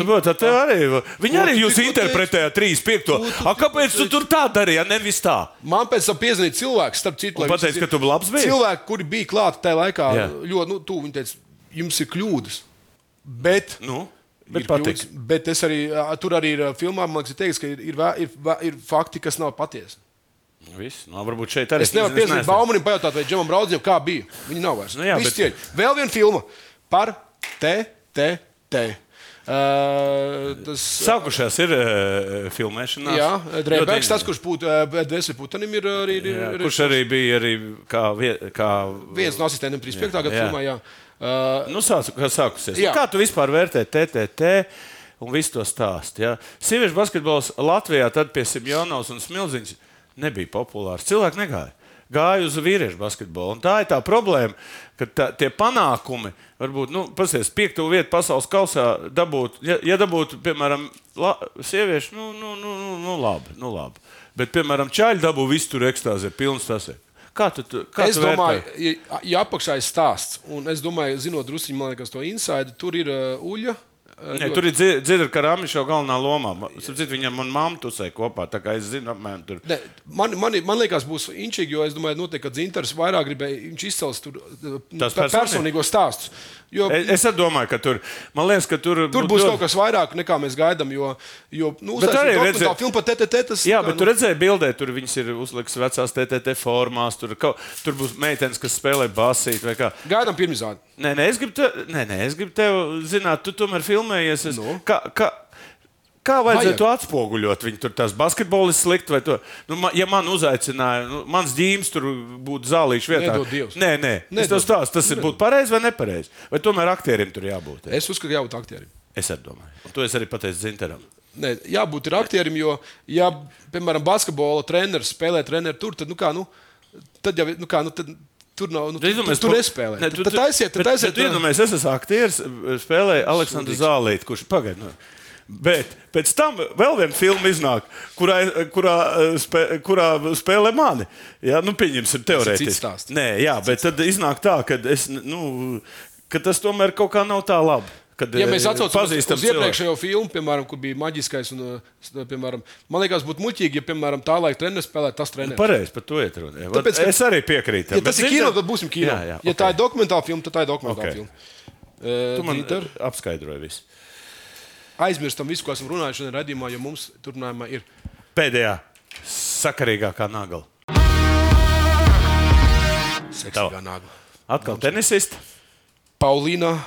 C: Saprotiet, tev arī. Viņi
B: Ko
C: arī
B: tu
C: jūs
B: tikko
C: interpretēja 35.
B: Ko tu
C: A, kāpēc tu tur tā darīji, ja nevis tā?
B: Man pēc tam piezvanīja cilvēks, starp citu,
C: Un
B: lai
C: pateica,
B: visi
C: ka
B: zinātu.
C: tu labs biji?
B: Cilvēki, kuri bija klāti tajā laikā,
C: Jā.
B: ļoti nu, tuvu, viņi teica, jums ir kļūdas. Bet
C: Nu,
B: Ir
C: bet patīk.
B: kļūdas, Bet es arī ā, tur arī ir ā, filmā, man liekas, ir teikts, ka ir, ir, vē- ir, vē- ir fakti, kas nav patiesi.
C: Viss, nu, varbūt šeit arī.
B: Es nevaru
C: nezinu,
B: piezvanīt
C: neesmu.
B: Baumanim, pajautāt, vai Džemam Braudzim, kā bija. Viņa nav vairs.
C: Nu jā,
B: Viss
C: bet-
B: cieņ. Vēl viena filma par TTT. Uh, tas
C: Sākušās ir uh, filmēšanas.
B: jā,
C: Ļoti
B: Dreibēks, tas,
C: interesanti.
B: kurš būtu uh, Dvēseli Putanim, ir arī ir,
C: Jā,
B: ir,
C: kurš arī bija arī kā, vie, kā
B: viens no asistentiem 35. gada
C: jā.
B: filmā. Jā. Uh,
C: Nu, sāc, kā sākusies.
B: Jā.
C: Nu, Kā tu vispār vērtē TTT? Un visu to stāstu. Ja? Sieviešu basketbols Latvijā tad pie Simjonovas un Smilziņas nebija populārs. Cilvēki negāja. Gāja uz vīriešu basketbolu. Un tā ir tā problēma, ka tā, tie panākumi, varbūt, nu, pasies, piekto vietu pasaules kausā dabūt, ja, ja dabūtu, piemēram, la, sieviešu, nu, nu, nu, nu, nu, labi, nu, labi. Bet, piemēram, čaļi dabū visu tur ekstāzē, pilns tas ir. Kā tu, tu, kā
B: es
C: tu vērtē?
B: domāju, ja, ja apakšā ir stāsts, un es domāju, zinot drusku, man liekas, to inside, tur ir uh, uļa. Uh,
C: Nē,
B: ļoti-
C: tur ir dzirdama, ka Rāmīša jau galvenā lomā. Sapratu, viņam un mamma tusē kopā. Tā kā es zinu, apmēram tur.
B: Ne, man, man, man liekas, būs inčīgi, jo es domāju, noteikti, ka Zintars vairāk gribēja izcelt tur
C: Tas
B: tā-
C: personīgi?
B: personīgo stāstu. Jo,
C: Es, es arī domāju, ka tur. Man liekas, ka tur,
B: Tur būs
C: ļoti-
B: kaut kas vairāk, nekā mēs gaidām. Jo, jo nu,
C: Bet
B: uztaisīt
C: arī
B: dokumentālu
C: redzēt-
B: filmu par TTT, tas
C: Jā,
B: kā,
C: bet
B: nu,
C: tur redzēja, bildē, tur viņas ir uzlikas vecās TTT formās. Tur, kaut, tur būs meitenes, kas spēlē basīt vai kā.
B: gaidām pirmizrādi.
C: Nē, nē, es gribu te, nē, nē, es gribu tev zināt, tu tomēr filmējies. Es,
B: Nu?
C: no. kā, kā, kā vajadzētu Vajag. atspoguļot viņu? Tur tas basketbolists slikti vai to. Nu, ma, ja man uzaicināja, nu, mans ģīms tur būtu zālīšu vietā.
B: Nedod Dievs.
C: Nē, nē, nē
B: Nedod.
C: tas stāsts. Tas ir būtu pareizi vai nepareizi. Vai tomēr aktierim tur jābūt?
B: Es uzskatu, jābūt aktierim.
C: Es arī domāju. Un to es arī pateicu Zinteram.
B: Nē, jābūt ir aktierim, jo, ja, piemēram, basketbola treneris spēlē treneru tur, tad, nu, kā, nu, tad jau, nu, kā, nu, tad, tur nav, nu,
C: Tu iedomājies,
B: tur
C: pa-
B: nespēlē.
C: Ne,
B: Tad tad aiziet, tad
C: bet-
B: aiziet.
C: eh, bet tu Iedomājies, es esmu aktieris, spēlēju Aleksandru Zālīti, kurš pagaidīja. Nu, Bet pēc tam vēl viena filma iznāk, kurā, kurā, eh, spē, kurā spēlē mani. Jā, nu, pieņemsim,
B: cits
C: teorētiski.
B: stāsts.
C: Nē, jā, bet tad iznāk tā, ka, es, nu, ka tas tomēr kaut kā nav tā labi. Kad,
B: Ja
C: eh,
B: mēs atcaucamies uz,
C: pazīstam
B: uz
C: cilvēku.
B: iepriekšējo filmu, piemēram, kur bija maģiskais, un uh, s- piemēram, man liekas, būtu muļķīgi, ja, piemēram, tā laika treniņš spēlē tas treniņš.
C: Pareizi, par to ir runa. jā. Vat
B: Tāpēc, ka-
C: Es arī piekrītu.
B: Ja tas ir kino, tad būsim kino.
C: Jā, jā,
B: ja tā
C: ok.
B: ir dokumentāla filma, tad tā ir dokumentāla
C: Ok.
B: okay. filma.
C: Tu man
B: Dīter,
C: eh, apskaidroji visu.
B: Aizmirstam visu, ko esam runājuši šajā redzējumā, jo mums turpinājumā ir
C: Pēdējā sakarīgākā nagla.
B: seksīga nāga.
C: Atkal tenisists.
B: Paulīna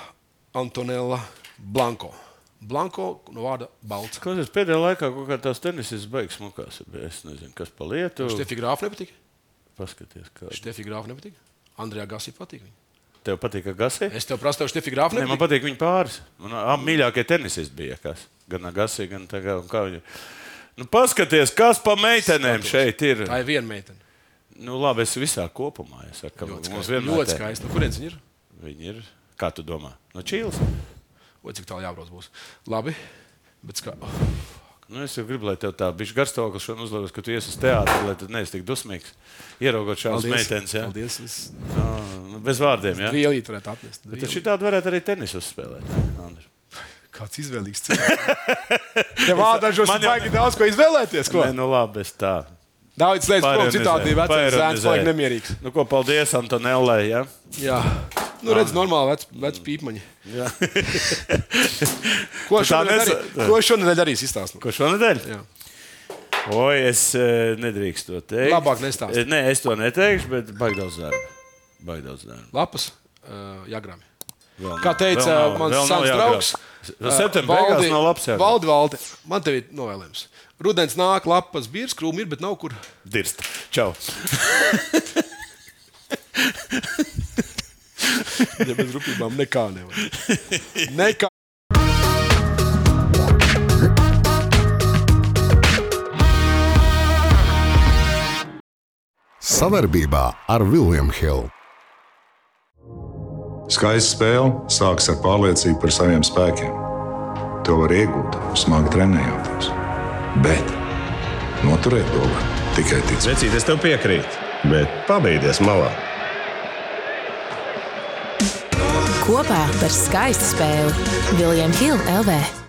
B: Antonella Blanko. Blanko no vārda Balts.
C: Kāpēc pēdējā laikā kaut kā tās tenisis beigas smukās? Es nezinu, kas pa lietu.
B: Stefija Grāfa nepatīk.
C: Paskaties, kā
B: Stefija Grāfa nepatīk. Andrejā Gasī patīk. Viņa.
C: tev patīk, ka gasē.
B: Es tev prasu, tev Stefija Grāfa
C: Nē, man
B: nepatīk.
C: patīk viņa pāris. Man abi mīļākie tenisisti bija. Kas. Gan Agassi, gan tā kā. un kā viņa- Nu, paskaties, kas pa meitenēm šeit ir.
B: Tā ir viena meitene.
C: Nu, labi, es visā kopumā es saku, ka
B: Ļoti
C: mums
B: skaista.
C: vienmēr
B: Ļoti
C: te-
B: skaista. No kurienes viņa ir?
C: Viņi ir. Kā tu domā? No Čīles?
B: O, cik tālu jābrauc būs. Labi. Bet kā...
C: Nu, es jau gribu, lai tev tā bija garšstāvoklis šodien uzlabos, ka tu ies uz teātru, lai tu neesi tik dusmīgs. Ieraugot šādas meitenes, jā.
B: Paldies. Es
C: Nu, Bez vārdiem, jā.
B: vielu varētu atnest.
C: Bet
B: Dvielīt.
C: šitādi varētu arī tenisu spēlēt. Andri.
B: Kāds izvēlīgs cilvēks.
C: [LAUGHS]
B: Ja vārdažos
C: Man
B: ir
C: jau
B: baigi daudz ko izvēlēties, ko?
C: Nē, nu labi, es tā.
B: Daudz lietas, ko
C: Paironizēju,
B: citādi vecais zēns
C: paironizēju.
B: paliek nemierīgs.
C: Nu, ko, paldies Antonellai. Ja?
B: Jā. Nu, redz, normāli vec, vec pīpmaņi.
C: [LAUGHS]
B: Ko
C: Tu tā
B: šonadēļ
C: nesa-
B: darī- ko šonadēļ darīs? Izstāst. man.
C: Ko šonadēļ?
B: Jā.
C: Oi, es eh, nedrīkstu to teikt.
B: Labāk nestāst.
C: Eh, Nē, es to neteikšu, bet baigi daudz darba. Baigi daudz darba.
B: Lapas, uh, jāgrami.
C: Vēl nav,
B: Kā
C: vēl
B: teica
C: nav,
B: mans
C: vēl nav
B: sens
C: jāgrāb.
B: draugs, e,
C: S- Septembrī beigās nav labs jau.
B: Valdi, valdi, man tev ir novēlējums. Rudens nāk, lapas, bīrs, krūmi ir, bet nav kur.
C: Dirst. Čau.
B: Ja bez rūpībām nekā
C: [LAUGHS]
B: nevar. Nekā.
A: Savarbībā ar William Hill.
D: Skaista spēle sākas ar pārliecību par saviem spēkiem. To var iegūt, smagi trenējoties. Bet noturēt to var tikai ticēt.
G: Vecīt, es tev piekrītu, bet pabeigties malā.
F: Kopā par skaistu spēli Viljams Hilde LV.